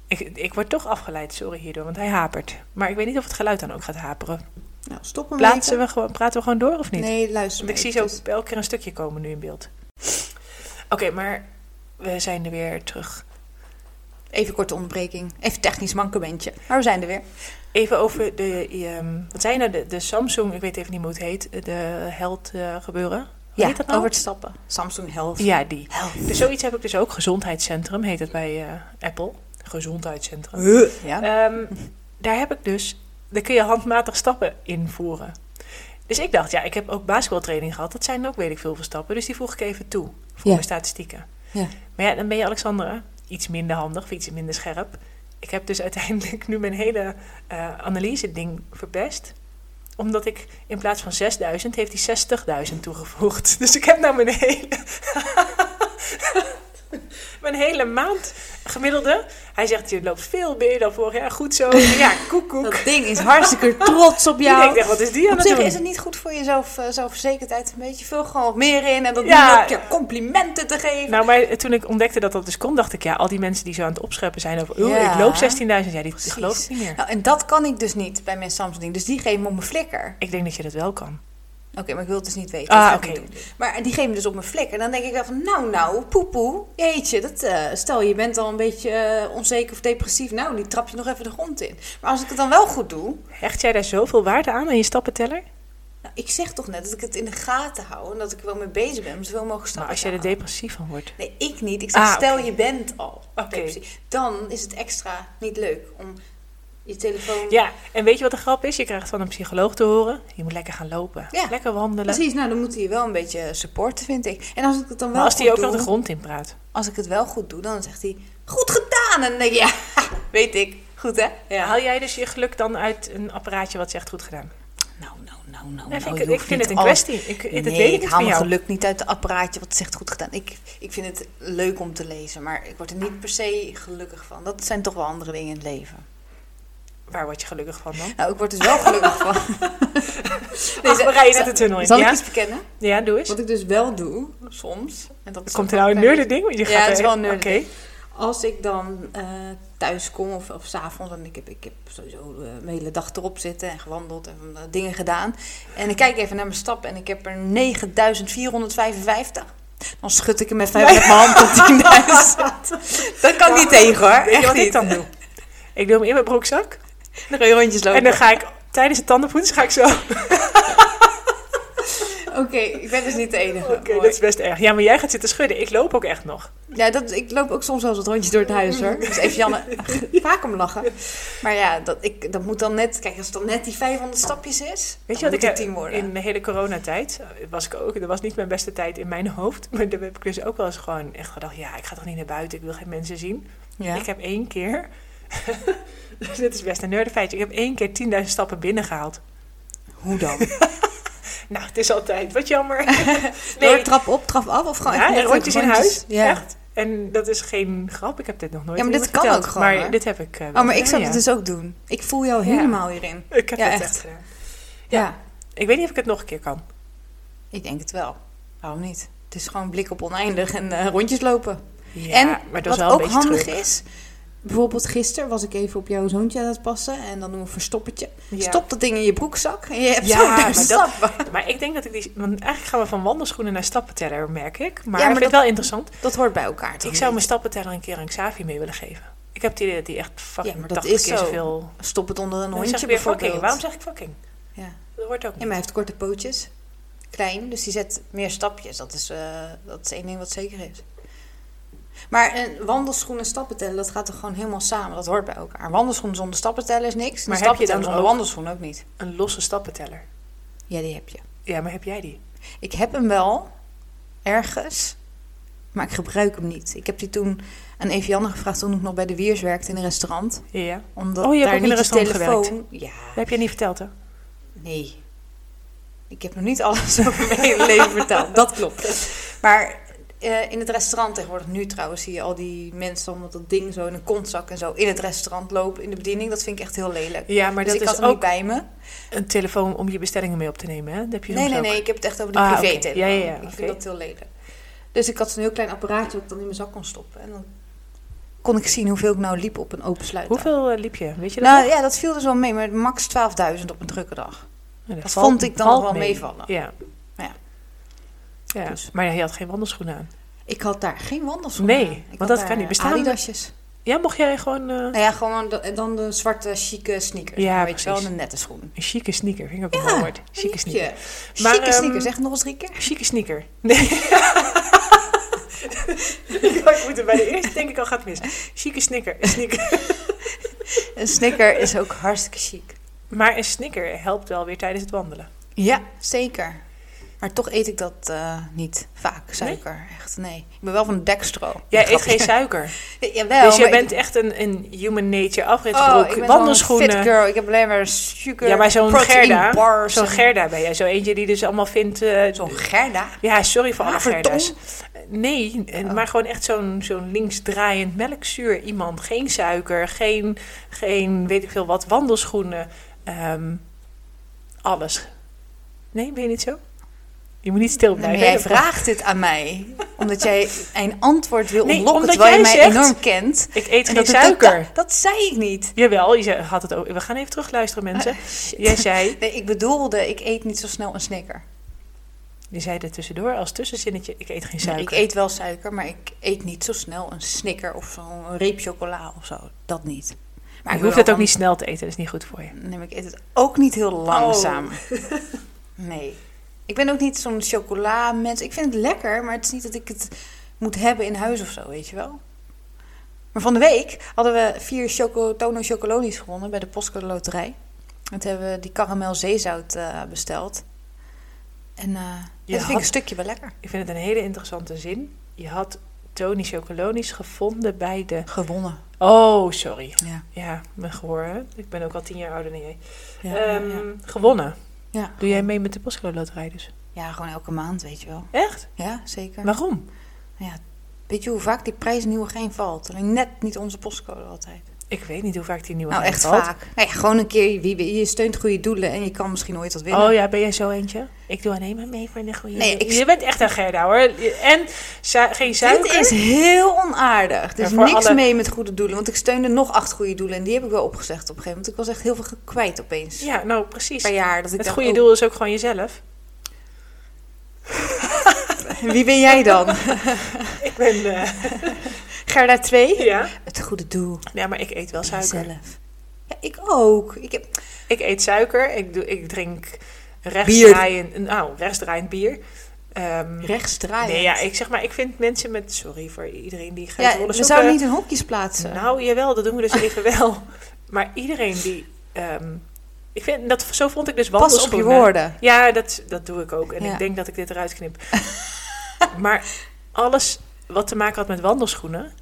Speaker 1: Ik, ik word toch afgeleid, sorry hierdoor, want hij hapert. Maar ik weet niet of het geluid dan ook gaat haperen.
Speaker 2: Nou, stop hem
Speaker 1: Plaatsen we gewoon, praten we gewoon door of niet?
Speaker 2: Nee, luister
Speaker 1: Want ik zie zo elke keer een stukje komen nu in beeld. Oké, maar we zijn er weer terug.
Speaker 2: Even korte ontbreking. Even technisch mankementje. Maar we zijn er weer.
Speaker 1: Even over de, ehm, wat zijn nou, de, de Samsung, ik weet even niet hoe het heet, de held eh, gebeuren. Hoe heet dat nou?
Speaker 2: over het stappen. Samsung Health.
Speaker 1: Ja, die.
Speaker 2: Health.
Speaker 1: Dus zoiets heb ik dus ook. Gezondheidscentrum heet het bij eh, Apple. Gezondheidscentrum.
Speaker 2: Ja.
Speaker 1: Ehm, daar heb ik dus, daar kun je handmatig stappen invoeren. Dus ik dacht, ja, ik heb ook basketbaltraining gehad. Dat zijn ook, weet ik veel, veel stappen. Dus die voeg ik even toe voor
Speaker 2: Ja.
Speaker 1: mijn statistieken.
Speaker 2: Ja.
Speaker 1: Maar ja, dan ben je Alexandra iets minder handig of iets minder scherp. Ik heb dus uiteindelijk nu mijn hele eh, analyse-ding verpest. Omdat ik in plaats van 6000 heeft hij 60.000 toegevoegd. Dus ik heb nou mijn hele. mijn hele maand gemiddelde. Hij zegt: Je loopt veel meer dan vorig jaar. Goed zo. Ja, koekoek.
Speaker 2: Dat ding is hartstikke trots op jou.
Speaker 1: Ik denk, wat is die aan
Speaker 2: Op
Speaker 1: het
Speaker 2: zich
Speaker 1: doen?
Speaker 2: is het niet goed voor je zelf, eh, zelfverzekerdheid een beetje. Vul gewoon wat meer in en dat
Speaker 1: Ja.
Speaker 2: ja. ook je complimenten te geven.
Speaker 1: Nou, maar toen ik ontdekte dat dat dus kon, dacht ik, ja, al die mensen die zo aan het opscheppen zijn over, oh,
Speaker 2: Ja.
Speaker 1: ik loop 16.000, ja, die
Speaker 2: Precies.
Speaker 1: geloof ik niet meer.
Speaker 2: Nou, en dat kan ik dus niet bij mijn Samsung ding. Dus die geven me op mijn flikker.
Speaker 1: Ik denk dat je dat wel kan.
Speaker 2: Oké, maar ik wil het dus niet weten.
Speaker 1: Ah,
Speaker 2: Dat ga ik
Speaker 1: oké.
Speaker 2: niet doen. Maar die geven me dus op mijn flikker. En dan denk ik wel van, nou nou, poepoe. Jeetje, dat, eh, stel je bent al een beetje eh, onzeker of depressief. Nou, die trap je nog even de grond in. Maar als ik het dan wel goed doe,
Speaker 1: Hecht jij daar zoveel waarde aan, aan je stappenteller?
Speaker 2: Nou, ik zeg toch net dat ik het in de gaten hou en dat ik er wel mee bezig ben om zoveel mogelijk
Speaker 1: Maar
Speaker 2: stappen
Speaker 1: als jij
Speaker 2: te
Speaker 1: er depressief van wordt.
Speaker 2: halen. Nee, ik niet. Ik zeg,
Speaker 1: Ah,
Speaker 2: stel
Speaker 1: oké.
Speaker 2: je bent al
Speaker 1: Oké.
Speaker 2: depressief. Dan is het extra niet leuk om je telefoon...
Speaker 1: Ja, en weet je wat de grap is? Je krijgt van een psycholoog te horen, je moet lekker gaan lopen.
Speaker 2: Ja.
Speaker 1: Lekker wandelen.
Speaker 2: Precies, nou dan moet hij je wel een beetje supporten, vind ik. En als ik het dan wel
Speaker 1: Maar als
Speaker 2: goed
Speaker 1: die ook
Speaker 2: doe,
Speaker 1: nog de grond in praat.
Speaker 2: als ik het wel goed doe, dan zegt hij, goed gedaan! En dan denk ik, ja, weet ik. Goed hè? Nou, Ja.
Speaker 1: Haal jij dus je geluk dan uit een apparaatje wat zegt goed gedaan?
Speaker 2: Nou, nou, nou, nou.
Speaker 1: Nee,
Speaker 2: nou,
Speaker 1: vind
Speaker 2: je
Speaker 1: ik, ik
Speaker 2: hoeft
Speaker 1: vind
Speaker 2: niet
Speaker 1: het een
Speaker 2: alles-
Speaker 1: kwestie. Ik, dat
Speaker 2: nee,
Speaker 1: weet ik, niet
Speaker 2: ik haal
Speaker 1: van
Speaker 2: mijn
Speaker 1: jou.
Speaker 2: geluk niet uit het apparaatje wat zegt goed gedaan. Ik, ik vind het leuk om te lezen, maar ik word er niet per se gelukkig van. Dat zijn toch wel andere dingen in het leven.
Speaker 1: Waar word je gelukkig van dan?
Speaker 2: Nou, ik word er wel gelukkig van.
Speaker 1: Ach,
Speaker 2: ze-
Speaker 1: we rijden
Speaker 2: ze-
Speaker 1: net de tunnel in.
Speaker 2: Zal ik
Speaker 1: Ja?
Speaker 2: iets bekennen?
Speaker 1: ja, doe eens.
Speaker 2: Wat ik dus wel doe, soms... En dat is
Speaker 1: Komt er
Speaker 2: ook
Speaker 1: nou een
Speaker 2: wel-
Speaker 1: nerde ding? Je
Speaker 2: Ja,
Speaker 1: gaat
Speaker 2: het is
Speaker 1: er-
Speaker 2: wel een nerde
Speaker 1: Oké.
Speaker 2: ding. Als ik dan eh, thuis kom of, of s'avonds, en ik heb, ik heb sowieso eh, mijn hele dag erop zitten en gewandeld en eh, dingen gedaan. En ik kijk even naar mijn stappen en ik heb er 9455. Dan schud ik hem even met mijn hand tot 10.000. Dat kan ik niet tegen hoor.
Speaker 1: Weet je
Speaker 2: Echt
Speaker 1: wat ik
Speaker 2: niet.
Speaker 1: dan doe? Ik doe hem in mijn broekzak.
Speaker 2: Dan ga je rondjes lopen.
Speaker 1: En dan ga ik tijdens het tandenpoetsen ga ik zo. Oké,
Speaker 2: Oké, ik ben dus niet de enige. Mooi.
Speaker 1: dat is best erg. Ja, maar jij gaat zitten schudden. Ik loop ook echt nog.
Speaker 2: Ja, dat, ik loop ook soms wel eens wat rondjes door het huis hoor. Dus even Janne, vaak om lachen. Maar ja, dat, ik, dat moet dan net, kijk, als het dan net die 500 stapjes is,
Speaker 1: Weet je wat ik
Speaker 2: dan moet
Speaker 1: heb
Speaker 2: het 10 worden.
Speaker 1: in de hele coronatijd eh, was ik ook. Dat was niet mijn beste tijd in mijn hoofd. Maar daar heb ik dus ook wel eens gewoon echt gedacht: ja, ik ga toch niet naar buiten. Ik wil geen mensen zien.
Speaker 2: Ja.
Speaker 1: Ik heb één keer. dit is best een nerde feitje. Ik heb één keer 10.000 stappen binnengehaald.
Speaker 2: Hoe dan?
Speaker 1: Nou, het is altijd. Wat jammer.
Speaker 2: Door Nou, trap op, trap af of gewoon
Speaker 1: Ja,
Speaker 2: echt
Speaker 1: en
Speaker 2: letterlijk
Speaker 1: rondjes in huis.
Speaker 2: Ja.
Speaker 1: Echt. En dat is geen grap. Ik heb dit nog nooit
Speaker 2: Ja, maar dit
Speaker 1: iemand
Speaker 2: kan
Speaker 1: verteld.
Speaker 2: ook gewoon,
Speaker 1: Maar
Speaker 2: hoor.
Speaker 1: dit heb ik. eh, wel
Speaker 2: Oh, maar ik
Speaker 1: gedaan,
Speaker 2: zou
Speaker 1: ja.
Speaker 2: het dus ook doen. Ik voel jou
Speaker 1: Ja.
Speaker 2: helemaal hierin.
Speaker 1: Ik heb
Speaker 2: Ja,
Speaker 1: dat
Speaker 2: echt.
Speaker 1: echt gedaan.
Speaker 2: Ja.
Speaker 1: Ja. Ik weet niet of ik het nog een keer kan.
Speaker 2: ik denk het wel. Waarom niet? Het is gewoon blik op oneindig en eh, rondjes lopen.
Speaker 1: Ja,
Speaker 2: en
Speaker 1: maar dat
Speaker 2: wat
Speaker 1: is wel
Speaker 2: ook
Speaker 1: een beetje
Speaker 2: handig
Speaker 1: terug.
Speaker 2: is, bijvoorbeeld gisteren was ik even op jouw zoontje aan het passen en dan doen we een verstoppertje.
Speaker 1: Ja.
Speaker 2: Stop dat ding in je broekzak en je hebt
Speaker 1: Ja,
Speaker 2: zo'n
Speaker 1: maar
Speaker 2: duizend
Speaker 1: dat-
Speaker 2: stappen.
Speaker 1: Maar ik denk dat ik die... Want eigenlijk gaan we van wandelschoenen naar stappenteller, merk ik. Maar,
Speaker 2: Ja, maar
Speaker 1: ik vind
Speaker 2: dat-
Speaker 1: het wel interessant.
Speaker 2: Dat hoort bij elkaar. toch
Speaker 1: Ik zou
Speaker 2: niet?
Speaker 1: mijn stappenteller een keer aan Xavi mee willen geven. Ik heb het idee dat die echt fucking
Speaker 2: Ja, maar dat
Speaker 1: 80
Speaker 2: is
Speaker 1: keer
Speaker 2: zo.
Speaker 1: zoveel...
Speaker 2: Stop het onder
Speaker 1: Dan
Speaker 2: een
Speaker 1: zeg
Speaker 2: hondje
Speaker 1: ik weer fucking.
Speaker 2: bijvoorbeeld.
Speaker 1: Waarom zeg ik fucking?
Speaker 2: Ja.
Speaker 1: Dat hoort ook
Speaker 2: ja,
Speaker 1: niet.
Speaker 2: maar hij heeft korte pootjes. Klein, dus die zet meer stapjes. Dat is, eh, dat is één ding wat zeker is. Maar een wandelschoen en stappen tellen, dat gaat er gewoon helemaal samen. Dat hoort bij elkaar. Een wandelschoen zonder stappen tellen is niks.
Speaker 1: Maar
Speaker 2: Maar
Speaker 1: heb je
Speaker 2: stappen
Speaker 1: dan
Speaker 2: tellen zonder
Speaker 1: ook-
Speaker 2: wandelschoen ook niet.
Speaker 1: Een losse stappenteller.
Speaker 2: Ja, die heb je.
Speaker 1: Ja, maar heb jij die?
Speaker 2: Ik heb hem wel ergens, maar ik gebruik hem niet. Ik heb die toen aan Evianne gevraagd toen ik nog bij de Wiers werkte in een restaurant.
Speaker 1: Ja.
Speaker 2: Omdat
Speaker 1: Oh, je hebt
Speaker 2: daar
Speaker 1: ook in een
Speaker 2: niet de
Speaker 1: restaurant
Speaker 2: telefoon... Ja,
Speaker 1: Dat heb je niet verteld, hè?
Speaker 2: Nee. Ik heb nog niet alles over mijn hele leven verteld. Dat klopt. Maar eh, in het restaurant tegenwoordig nu trouwens zie je al die mensen dan met dat ding zo in een kontzak en zo in het restaurant lopen in de bediening. Dat vind ik echt heel lelijk.
Speaker 1: Ja, maar
Speaker 2: dus
Speaker 1: dat
Speaker 2: ik
Speaker 1: is
Speaker 2: had hem niet
Speaker 1: ook
Speaker 2: bij me.
Speaker 1: een telefoon om je bestellingen mee op te nemen, hè? Dat heb je
Speaker 2: Nee,
Speaker 1: soms
Speaker 2: nee,
Speaker 1: ook.
Speaker 2: nee. Ik heb het echt over de
Speaker 1: Ah, oké.
Speaker 2: privé-telefoon.
Speaker 1: Ja, ja, ja,
Speaker 2: Ik
Speaker 1: oké.
Speaker 2: vind dat heel lelijk. Dus ik had zo'n heel klein apparaatje dat ik dan in mijn zak kon stoppen. En dan kon ik zien hoeveel ik nou liep op een open sluiter.
Speaker 1: Hoeveel eh, liep je? Weet je dat?
Speaker 2: Nou
Speaker 1: nog?
Speaker 2: ja, dat viel dus wel mee. Maar max 12.000 op een drukke dag.
Speaker 1: Nou,
Speaker 2: dat
Speaker 1: valt-
Speaker 2: vond ik dan
Speaker 1: valt
Speaker 2: wel
Speaker 1: mee.
Speaker 2: meevallen.
Speaker 1: Ja.
Speaker 2: Ja.
Speaker 1: Ja,
Speaker 2: Dus.
Speaker 1: Maar je had geen wandelschoenen aan.
Speaker 2: Ik had daar geen wandelschoenen
Speaker 1: Nee,
Speaker 2: aan. Ik
Speaker 1: want
Speaker 2: had
Speaker 1: dat
Speaker 2: daar eh,
Speaker 1: kan niet. Bestaan er-
Speaker 2: Adidasjes.
Speaker 1: Ja, mocht jij gewoon eh,
Speaker 2: Nou ja, gewoon de- dan de zwarte, chique sneakers.
Speaker 1: Ja,
Speaker 2: Ja, weet je wel, en
Speaker 1: precies.
Speaker 2: een nette schoen.
Speaker 1: een chique sneaker, vind ik ook een
Speaker 2: Ja,
Speaker 1: mooi woord. Chique
Speaker 2: Liefje.
Speaker 1: sneaker. Maar,
Speaker 2: Chique
Speaker 1: ehm,
Speaker 2: sneakers, zeg het nog eens drie keer.
Speaker 1: Chique sneaker. Nee. ik moet er bij de eerste denk ik al gaat mis. Chique sneaker. sneaker.
Speaker 2: Een sneaker is ook hartstikke chic.
Speaker 1: Maar een sneaker helpt wel weer tijdens het wandelen.
Speaker 2: Ja, zeker. Maar toch eet ik dat eh, niet vaak, suiker. Echt, nee. Ik ben wel van de dekstro.
Speaker 1: Jij eet
Speaker 2: Grapje.
Speaker 1: geen suiker.
Speaker 2: Jawel,
Speaker 1: dus jij
Speaker 2: maar
Speaker 1: bent echt een, een human nature
Speaker 2: ik,
Speaker 1: afritbroek.
Speaker 2: ik ben
Speaker 1: wandelschoenen.
Speaker 2: gewoon een fit girl. Ik heb alleen maar suiker,
Speaker 1: ja, maar zo'n
Speaker 2: protein
Speaker 1: Gerda,
Speaker 2: bars
Speaker 1: zo'n
Speaker 2: en-
Speaker 1: Gerda ben jij. Zo eentje die dus allemaal vindt... eh,
Speaker 2: Zo'n Gerda?
Speaker 1: ja, sorry voor alle
Speaker 2: Haverdom?
Speaker 1: Gerda's. Nee, eh,
Speaker 2: Oh.
Speaker 1: maar gewoon echt zo'n zo'n linksdraaiend melkzuur iemand. Geen suiker, geen, geen weet ik veel wat, wandelschoenen. ehm, alles. Nee, ben je niet zo? Je moet niet stil
Speaker 2: Nee, maar
Speaker 1: blijven.
Speaker 2: jij
Speaker 1: hè?
Speaker 2: vraagt dit aan mij. Omdat jij een antwoord wil
Speaker 1: Nee,
Speaker 2: ontlokken,
Speaker 1: omdat
Speaker 2: terwijl je
Speaker 1: jij
Speaker 2: mij
Speaker 1: zegt-
Speaker 2: enorm kent.
Speaker 1: Ik eet
Speaker 2: En
Speaker 1: geen
Speaker 2: dat het
Speaker 1: suiker.
Speaker 2: totaal- dat zei ik niet.
Speaker 1: Jawel, je zei- had het ook. We gaan even terugluisteren, mensen.
Speaker 2: Oh, Shit.
Speaker 1: Jij zei,
Speaker 2: Nee, ik bedoelde, ik eet niet zo snel een snicker.
Speaker 1: je zei er tussendoor als tussenzinnetje, ik eet geen suiker.
Speaker 2: Ik eet wel suiker, maar ik eet niet zo snel een snicker of zo'n reep chocola of zo. Dat niet. Maar
Speaker 1: je hoeft
Speaker 2: ik wil
Speaker 1: het ook
Speaker 2: wel-
Speaker 1: niet snel te eten, dat is niet goed voor je.
Speaker 2: Nee, maar ik eet het ook niet heel
Speaker 1: Oh.
Speaker 2: langzaam. Nee. Ik ben ook niet zo'n chocolamens. Ik vind het lekker, maar het is niet dat ik het moet hebben in huis of zo, weet je wel. Maar van de week hadden we vier choco, Tono Chocolonies gewonnen bij de Postcode Loterij. En toen hebben we die karamel zeezout eh, besteld. En eh
Speaker 1: Je
Speaker 2: dat vind ik
Speaker 1: had-
Speaker 2: een stukje wel lekker.
Speaker 1: Ik vind het een hele interessante zin. Je had Tony Chocolonisch gevonden bij de...
Speaker 2: Gewonnen.
Speaker 1: Oh, sorry.
Speaker 2: Ja.
Speaker 1: Ja, mijn gehoor, hè? Ik ben ook al tien jaar ouder dan jij.
Speaker 2: Ja,
Speaker 1: Ehm,
Speaker 2: ja, ja.
Speaker 1: Gewonnen.
Speaker 2: Ja.
Speaker 1: Doe jij mee met de Postcode Loterij dus?
Speaker 2: Ja, gewoon elke maand, weet je wel.
Speaker 1: Echt?
Speaker 2: Ja, zeker.
Speaker 1: Waarom?
Speaker 2: Weet je hoe vaak die prijs in Nieuwegein valt? Alleen net niet onze postcode altijd.
Speaker 1: Ik weet niet hoe vaak die nieuwe
Speaker 2: Nou,
Speaker 1: game
Speaker 2: echt
Speaker 1: valt.
Speaker 2: vaak. Nou ja, gewoon een keer, wie, wie- je steunt goede doelen en je kan misschien nooit wat winnen.
Speaker 1: Oh ja, ben jij zo eentje? Ik doe alleen maar mee voor de goede
Speaker 2: Nee,
Speaker 1: doel.
Speaker 2: ik-
Speaker 1: Je bent echt een Gerda hoor. En su- geen
Speaker 2: Dit
Speaker 1: suiker.
Speaker 2: is heel onaardig. Er is
Speaker 1: Ja, voor
Speaker 2: niks
Speaker 1: alle-
Speaker 2: mee met goede doelen. Want ik steunde nog acht goede doelen en die heb ik wel opgezegd op een gegeven moment. Ik was echt heel veel ge- kwijt opeens.
Speaker 1: Ja, nou precies.
Speaker 2: Per jaar. Dat ik
Speaker 1: Het
Speaker 2: dacht,
Speaker 1: goede
Speaker 2: oh,
Speaker 1: doel is ook gewoon jezelf.
Speaker 2: Wie ben jij dan?
Speaker 1: Ik ben... eh,
Speaker 2: Gerda 2?
Speaker 1: ja.
Speaker 2: Het goede doel.
Speaker 1: ja, maar ik eet wel suiker.
Speaker 2: Zelf. Ja, ik ook. Ik heb...
Speaker 1: Ik eet suiker. Ik, doe, ik drink rechtsdraaiend, nou, rechtsdraaiend bier. Ehm,
Speaker 2: Rechts draaien.
Speaker 1: nee, ja, ik zeg maar, ik vind mensen met... Sorry voor iedereen die gaat
Speaker 2: Ja,
Speaker 1: rollen
Speaker 2: we
Speaker 1: zoeken.
Speaker 2: zouden niet eh, in hokjes plaatsen.
Speaker 1: Nou, jawel, dat doen we dus even wel. Maar iedereen die... ehm, ik vind, dat, zo vond ik dus
Speaker 2: Pas op je
Speaker 1: wandelschoenen.
Speaker 2: woorden.
Speaker 1: Ja, dat, dat doe ik ook. En
Speaker 2: Ja.
Speaker 1: ik denk dat ik dit eruit knip. maar alles wat te maken had met wandelschoenen...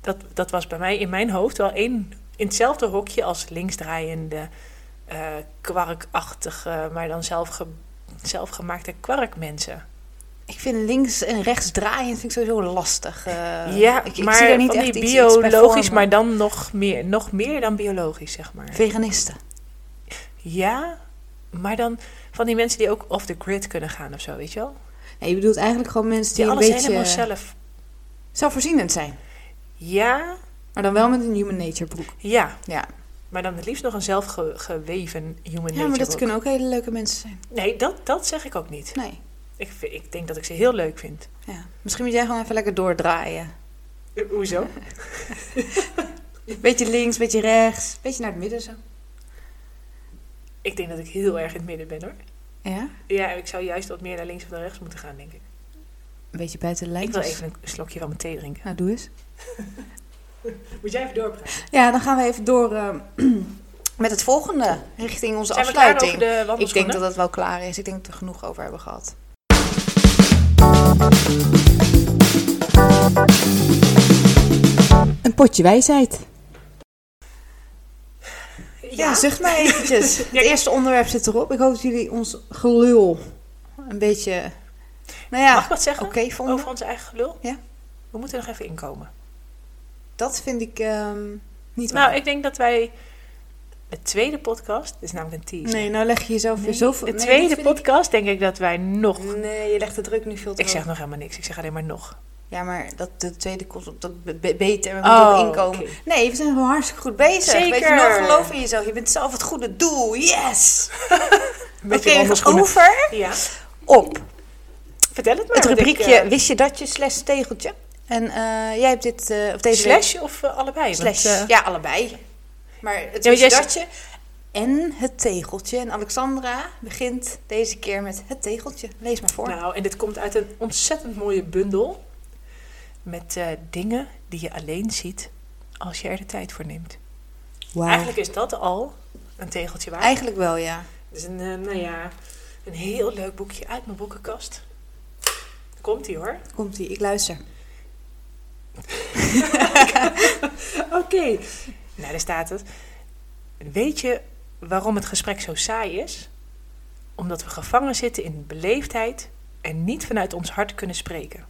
Speaker 1: Dat, dat was bij mij in mijn hoofd wel één, in hetzelfde hokje als linksdraaiende, eh, kwarkachtige... maar dan zelfge, zelfgemaakte kwarkmensen.
Speaker 2: Ik vind links en rechts draaiend vind ik sowieso lastig. eh.
Speaker 1: ja,
Speaker 2: ik,
Speaker 1: maar
Speaker 2: zie daar niet
Speaker 1: van
Speaker 2: echt
Speaker 1: die
Speaker 2: iets- iets bij
Speaker 1: biologisch,
Speaker 2: voor me.
Speaker 1: maar dan nog meer, nog meer dan biologisch, zeg maar.
Speaker 2: Veganisten.
Speaker 1: Ja, maar dan van die mensen die ook off the grid kunnen gaan of zo, weet je wel?
Speaker 2: Nee, je bedoelt eigenlijk gewoon mensen die,
Speaker 1: Die alles
Speaker 2: een beetje
Speaker 1: helemaal zelf...
Speaker 2: zelfvoorzienend zijn.
Speaker 1: Ja,
Speaker 2: Maar dan wel met een human nature broek.
Speaker 1: ja.
Speaker 2: Ja,
Speaker 1: Maar dan het liefst nog een zelfgeweven human nature
Speaker 2: ja maar dat
Speaker 1: book.
Speaker 2: kunnen ook hele leuke mensen zijn.
Speaker 1: Nee, dat, dat zeg ik ook niet.
Speaker 2: Nee.
Speaker 1: Ik, vind- ik denk dat ik ze heel leuk vind.
Speaker 2: Ja. Misschien moet jij gewoon even lekker doordraaien.
Speaker 1: Eh, hoezo?
Speaker 2: Beetje links, beetje rechts. Beetje naar het midden zo.
Speaker 1: Ik denk dat ik heel erg in het midden ben, hoor.
Speaker 2: Ja?
Speaker 1: Ja, ik zou juist wat meer naar links of naar rechts moeten gaan, denk ik.
Speaker 2: Een beetje buiten de
Speaker 1: Ik wil
Speaker 2: lijntjes.
Speaker 1: even een slokje van mijn thee drinken.
Speaker 2: Nou, doe eens.
Speaker 1: Moet jij even doorpraten?
Speaker 2: Ja, dan gaan we even door eh, met het volgende. Richting onze
Speaker 1: Zijn we klaar
Speaker 2: afsluiting.
Speaker 1: over de
Speaker 2: Ik denk
Speaker 1: wandelschoenen?
Speaker 2: dat het wel klaar is. Ik denk dat we er genoeg over hebben gehad. Een potje wijsheid. Ja, zucht maar eventjes. Het eerste onderwerp zit erop. Ik hoop dat jullie ons gelul een beetje... Nou ja,
Speaker 1: Mag ik wat zeggen
Speaker 2: oké vonden.
Speaker 1: over ons eigen gelul?
Speaker 2: Ja.
Speaker 1: We moeten nog even inkomen.
Speaker 2: Dat vind ik ehm, niet waar.
Speaker 1: Nou, ik denk dat wij de tweede podcast, dit is namelijk een teaser.
Speaker 2: Nee, nou leg je jezelf weer
Speaker 1: Nee,
Speaker 2: zoveel...
Speaker 1: de
Speaker 2: nee,
Speaker 1: tweede
Speaker 2: dat vind ik-
Speaker 1: podcast denk ik dat wij nog.
Speaker 2: Nee, je legt de druk nu veel te
Speaker 1: Ik zeg
Speaker 2: hoog.
Speaker 1: nog helemaal niks. Ik zeg alleen maar nog.
Speaker 2: Ja, maar dat, de tweede komt op dat be- be- beter. We moeten
Speaker 1: Oh,
Speaker 2: ook inkomen.
Speaker 1: oké.
Speaker 2: Nee, we zijn gewoon hartstikke goed bezig.
Speaker 1: Zeker.
Speaker 2: Weet je, nou geloof in jezelf. Je bent zelf het goede doel. Yes!
Speaker 1: Een
Speaker 2: Oké,
Speaker 1: beetje
Speaker 2: we gaan
Speaker 1: wandelschoenen.
Speaker 2: over Nou,
Speaker 1: Ja.
Speaker 2: op
Speaker 1: Vertel het maar.
Speaker 2: het
Speaker 1: want ik,
Speaker 2: rubriekje
Speaker 1: eh,
Speaker 2: Wist je dat je slash tegeltje? En eh, jij hebt dit, eh, of deze
Speaker 1: slash of eh, allebei?
Speaker 2: week- slash.
Speaker 1: Want, eh,
Speaker 2: ja, allebei. Maar het
Speaker 1: Ja,
Speaker 2: wist
Speaker 1: jij
Speaker 2: je
Speaker 1: zegt-
Speaker 2: dat je en het tegeltje. En Alexandra begint deze keer met het tegeltje. Lees maar voor.
Speaker 1: Nou, en dit komt uit een ontzettend mooie bundel. Met eh, dingen die je alleen ziet als je er de tijd voor neemt.
Speaker 2: Wauw. Eigenlijk,
Speaker 1: Eigenlijk is dat al een tegeltje waard.
Speaker 2: Eigenlijk wel, ja.
Speaker 1: Het is een, eh, nou ja, een heel leuk boekje uit mijn boekenkast. Komt ie hoor.
Speaker 2: Komt ie, ik luister.
Speaker 1: Oké. Nou, daar staat het. Weet je waarom het gesprek zo saai is? Omdat we gevangen zitten in beleefdheid en niet vanuit ons hart kunnen spreken.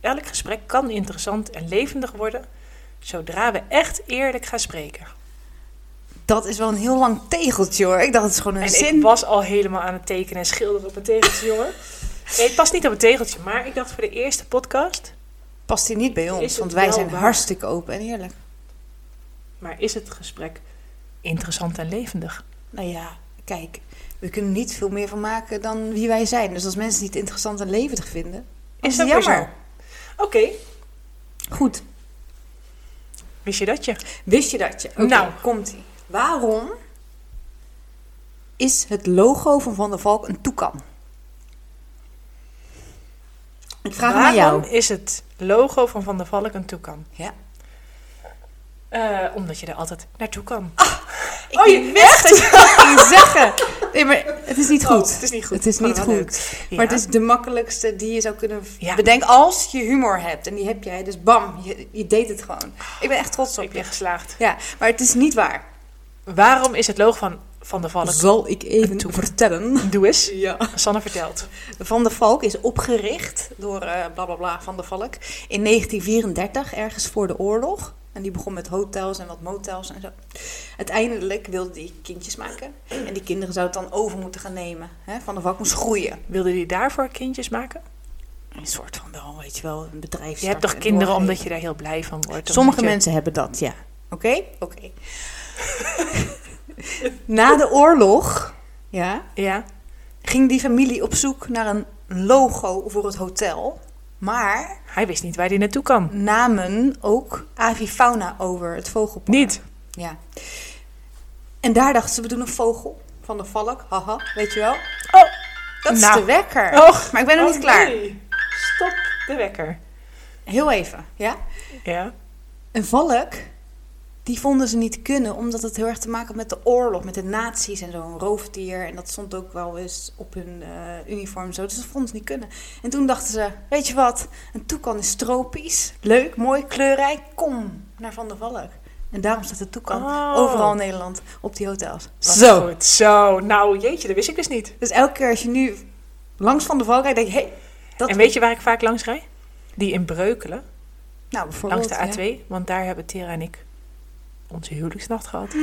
Speaker 1: Elk gesprek kan interessant en levendig worden zodra we echt eerlijk gaan spreken.
Speaker 2: Dat is wel een heel lang tegeltje hoor. Ik dacht het is gewoon een
Speaker 1: En
Speaker 2: zin.
Speaker 1: ik was al helemaal aan het tekenen en schilderen op een tegeltje, jongen. Nee, het past niet op een tegeltje, maar ik dacht voor de eerste podcast.
Speaker 2: Past die niet bij
Speaker 1: Is
Speaker 2: ons,
Speaker 1: het
Speaker 2: want wij
Speaker 1: wel
Speaker 2: zijn
Speaker 1: waar?
Speaker 2: hartstikke open en eerlijk.
Speaker 1: Maar is het gesprek interessant en levendig?
Speaker 2: Nou ja, kijk, we kunnen niet veel meer van maken dan wie wij zijn. Dus als mensen het niet interessant en levendig vinden,
Speaker 1: dat
Speaker 2: is dat
Speaker 1: weer zo?
Speaker 2: jammer.
Speaker 1: Oké,
Speaker 2: Goed,
Speaker 1: wist je dat je?
Speaker 2: wist je dat je? Oké,
Speaker 1: Nou.
Speaker 2: komt ie. Waarom is het logo van Van der Valk een toekan? Ik vraag het aan
Speaker 1: Waarom
Speaker 2: jou.
Speaker 1: is het logo van Van der Valk een toekan?
Speaker 2: Ja.
Speaker 1: Eh, omdat je er altijd naartoe kan.
Speaker 2: Ik oh, je wist dat je dat ging zeggen. Nee, maar het is niet goed.
Speaker 1: Oh, het is niet goed.
Speaker 2: Het is niet
Speaker 1: Maar
Speaker 2: goed.
Speaker 1: wel Ja.
Speaker 2: Maar het is de makkelijkste die je zou kunnen v-
Speaker 1: Ja.
Speaker 2: bedenken als je humor hebt. En die heb jij, dus bam, je, je deed het gewoon. Ik ben echt trots op
Speaker 1: Ik ben
Speaker 2: je.
Speaker 1: geslaagd.
Speaker 2: Ja, maar het is niet waar.
Speaker 1: Waarom is het logo van Van der Valk?
Speaker 2: zal ik even
Speaker 1: Toe.
Speaker 2: vertellen.
Speaker 1: Doe eens.
Speaker 2: Ja.
Speaker 1: Sanne vertelt.
Speaker 2: Van der Valk is opgericht door eh bla bla bla Van der Valk in 1934, ergens voor de oorlog. En die begon met hotels en wat motels en zo. Uiteindelijk wilde die kindjes maken. En die kinderen zouden het dan over moeten gaan nemen. Hè? Van der Valk moest groeien.
Speaker 1: Wilde die daarvoor kindjes maken?
Speaker 2: Een soort van wel, weet je wel, een bedrijf.
Speaker 1: Je hebt toch kinderen omdat je daar heel blij van wordt?
Speaker 2: Sommige
Speaker 1: omdat je-
Speaker 2: mensen hebben dat, ja. Oké? Oké. Na de oorlog ja,
Speaker 1: Ja.
Speaker 2: ging die familie op zoek naar een logo voor het hotel. Maar
Speaker 1: Hij wist niet waar hij naartoe kan.
Speaker 2: namen ook avifauna over, het vogelpark.
Speaker 1: Niet.
Speaker 2: Ja. En daar dachten ze, we doen een vogel van de valk. Haha, weet je wel?
Speaker 1: Oh,
Speaker 2: Dat
Speaker 1: Nou.
Speaker 2: is de wekker.
Speaker 1: Och,
Speaker 2: maar ik ben nog
Speaker 1: oh
Speaker 2: niet klaar.
Speaker 1: nee. Stop de wekker.
Speaker 2: Heel even, ja?
Speaker 1: Ja.
Speaker 2: Een valk, die vonden ze niet kunnen, omdat het heel erg te maken had met de oorlog, met de nazi's en zo'n roofdier. En dat stond ook wel eens op hun eh, uniform en zo, dus dat vonden ze niet kunnen. En toen dachten ze, weet je wat, een toekan is tropisch, leuk, mooi, kleurrijk, kom naar Van der Valk. En daarom staat de toekan
Speaker 1: Oh.
Speaker 2: overal in Nederland op die hotels.
Speaker 1: Wat Goed. Zo. Nou, jeetje, dat wist ik dus niet.
Speaker 2: Dus elke keer als je nu langs Van der Valk rijdt, denk je, hé, hey, dat...
Speaker 1: En weet je waar ik vaak langs rijd? Die in Breukelen,
Speaker 2: nou, bijvoorbeeld,
Speaker 1: langs de
Speaker 2: ja.
Speaker 1: A2. Want daar hebben Tera en ik onze huwelijksnacht gehad.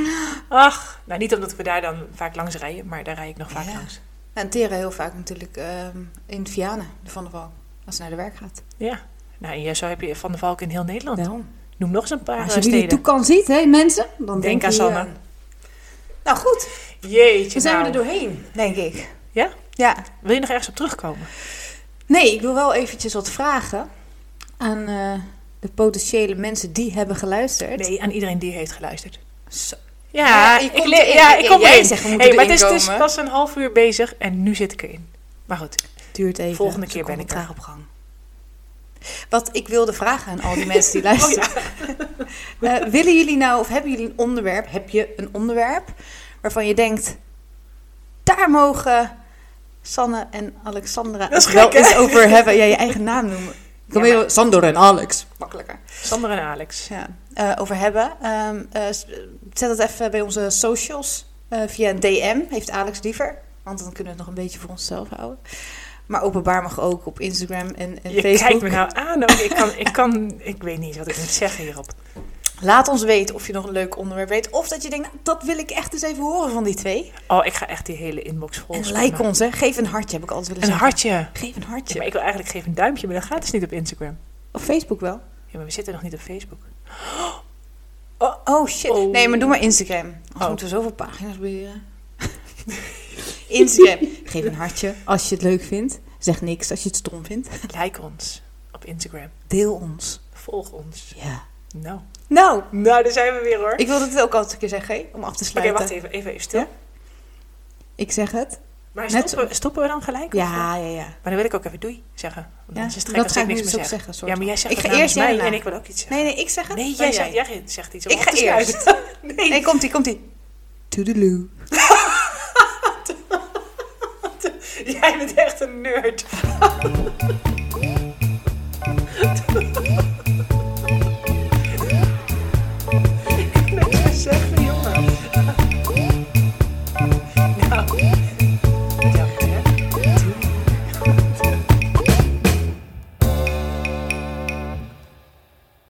Speaker 1: Ach, nou niet omdat we daar dan vaak langs rijden, maar daar rijd ik nog vaak
Speaker 2: Ja.
Speaker 1: langs.
Speaker 2: En Tera heel vaak natuurlijk ehm, in Vianen, de Van der Valk, als ze naar de werk gaat.
Speaker 1: Ja. Nou, en ja, zo heb je Van de Valk in heel Nederland.
Speaker 2: Daarom.
Speaker 1: Noem nog eens een paar
Speaker 2: Als
Speaker 1: eh,
Speaker 2: je die
Speaker 1: steden.
Speaker 2: toekan ziet, hè, mensen, dan
Speaker 1: Denk
Speaker 2: denk
Speaker 1: aan
Speaker 2: je,
Speaker 1: Sanne.
Speaker 2: eh, Nou goed,
Speaker 1: Jeetje
Speaker 2: dan zijn we
Speaker 1: nou.
Speaker 2: er doorheen, denk ik.
Speaker 1: Ja?
Speaker 2: Ja.
Speaker 1: Wil je nog ergens op terugkomen?
Speaker 2: Nee, ik wil wel eventjes wat vragen aan eh, de potentiële mensen die hebben geluisterd.
Speaker 1: Nee, aan iedereen die heeft geluisterd.
Speaker 2: Zo.
Speaker 1: Ja,
Speaker 2: Ja, je
Speaker 1: ik,
Speaker 2: komt
Speaker 1: le-
Speaker 2: erin.
Speaker 1: ja, ik
Speaker 2: Ja,
Speaker 1: kom
Speaker 2: jij
Speaker 1: erin.
Speaker 2: zegt, we moeten
Speaker 1: hey, maar het is, het
Speaker 2: erin
Speaker 1: is
Speaker 2: komen.
Speaker 1: pas een half uur bezig en nu zit ik erin. Maar goed,
Speaker 2: Duurt even.
Speaker 1: Volgende keer
Speaker 2: Ze komen
Speaker 1: ben ik er.
Speaker 2: traag op gang. Wat ik wilde vragen aan al die mensen die luisteren. Eh, willen jullie nou, of hebben jullie een onderwerp, heb je een onderwerp waarvan je denkt, daar mogen Sanne en Alexandra
Speaker 1: Dat is
Speaker 2: het wel
Speaker 1: gek, hè?
Speaker 2: eens over hebben. Ja, je eigen naam noemen. Camilo, Sander en Alex. Makkelijker.
Speaker 1: Sander en Alex.
Speaker 2: Ja, eh, over hebben. Ehm, eh, s- zet dat even bij onze socials. eh, via een DM heeft Alex liever. Want dan kunnen we het nog een beetje voor onszelf houden. Maar openbaar mag ook op Instagram en, en
Speaker 1: je
Speaker 2: Facebook.
Speaker 1: kijkt me nou aan ook. Ik kan, ik kan, ik weet niet wat ik moet zeggen hierop.
Speaker 2: Laat ons weten of je nog een leuk onderwerp weet. Of dat je denkt, nou, dat wil ik echt eens even horen van die twee.
Speaker 1: Oh, ik ga echt die hele inbox vol.
Speaker 2: En
Speaker 1: spammen.
Speaker 2: like ons, hè. Geef een hartje, heb ik altijd willen
Speaker 1: Een
Speaker 2: zeggen.
Speaker 1: hartje.
Speaker 2: Geef een
Speaker 1: Ja,
Speaker 2: hartje.
Speaker 1: maar ik wil eigenlijk geef een duimpje, maar dat gaat dus niet op Instagram.
Speaker 2: Op Facebook wel.
Speaker 1: Ja, maar we zitten nog niet op Facebook.
Speaker 2: Oh, oh, shit.
Speaker 1: Oh.
Speaker 2: Nee, maar doe maar Instagram. Anders
Speaker 1: Oh.
Speaker 2: moeten we zoveel pagina's beheren. Instagram. Geef een hartje als je het leuk vindt. Zeg niks als je het stom vindt.
Speaker 1: Like ons op Instagram.
Speaker 2: Deel ons.
Speaker 1: Volg ons.
Speaker 2: Ja.
Speaker 1: Nou.
Speaker 2: Nou,
Speaker 1: Nou, daar zijn we weer hoor.
Speaker 2: ik wilde het ook altijd een keer zeggen, hè, om af te
Speaker 1: Oké,
Speaker 2: sluiten.
Speaker 1: wacht even, even, even stil.
Speaker 2: Ja? Ik zeg het.
Speaker 1: Maar
Speaker 2: Net
Speaker 1: stoppen, stoppen we dan gelijk? of-
Speaker 2: Ja, ja, ja.
Speaker 1: Maar dan wil ik ook even doei zeggen. Want
Speaker 2: ja.
Speaker 1: anders is het gek
Speaker 2: dat
Speaker 1: als
Speaker 2: ga
Speaker 1: ik
Speaker 2: ik nu
Speaker 1: niks
Speaker 2: dus
Speaker 1: meer
Speaker 2: ook
Speaker 1: zeg.
Speaker 2: zeggen. Sorry.
Speaker 1: Ja, maar jij zegt
Speaker 2: ik ga
Speaker 1: het namens
Speaker 2: eerst jij
Speaker 1: mij
Speaker 2: daarna.
Speaker 1: en ik wil ook iets zeggen.
Speaker 2: Nee, nee, ik zeg het.
Speaker 1: Nee,
Speaker 2: dan
Speaker 1: jij, zegt, jij zegt iets.
Speaker 2: Ik ga
Speaker 1: Wat is
Speaker 2: eerst.
Speaker 1: het uit? Nee.
Speaker 2: Nee, komt-ie, komt-ie. Toedeloe.
Speaker 1: Jij bent echt een nerd. Nou.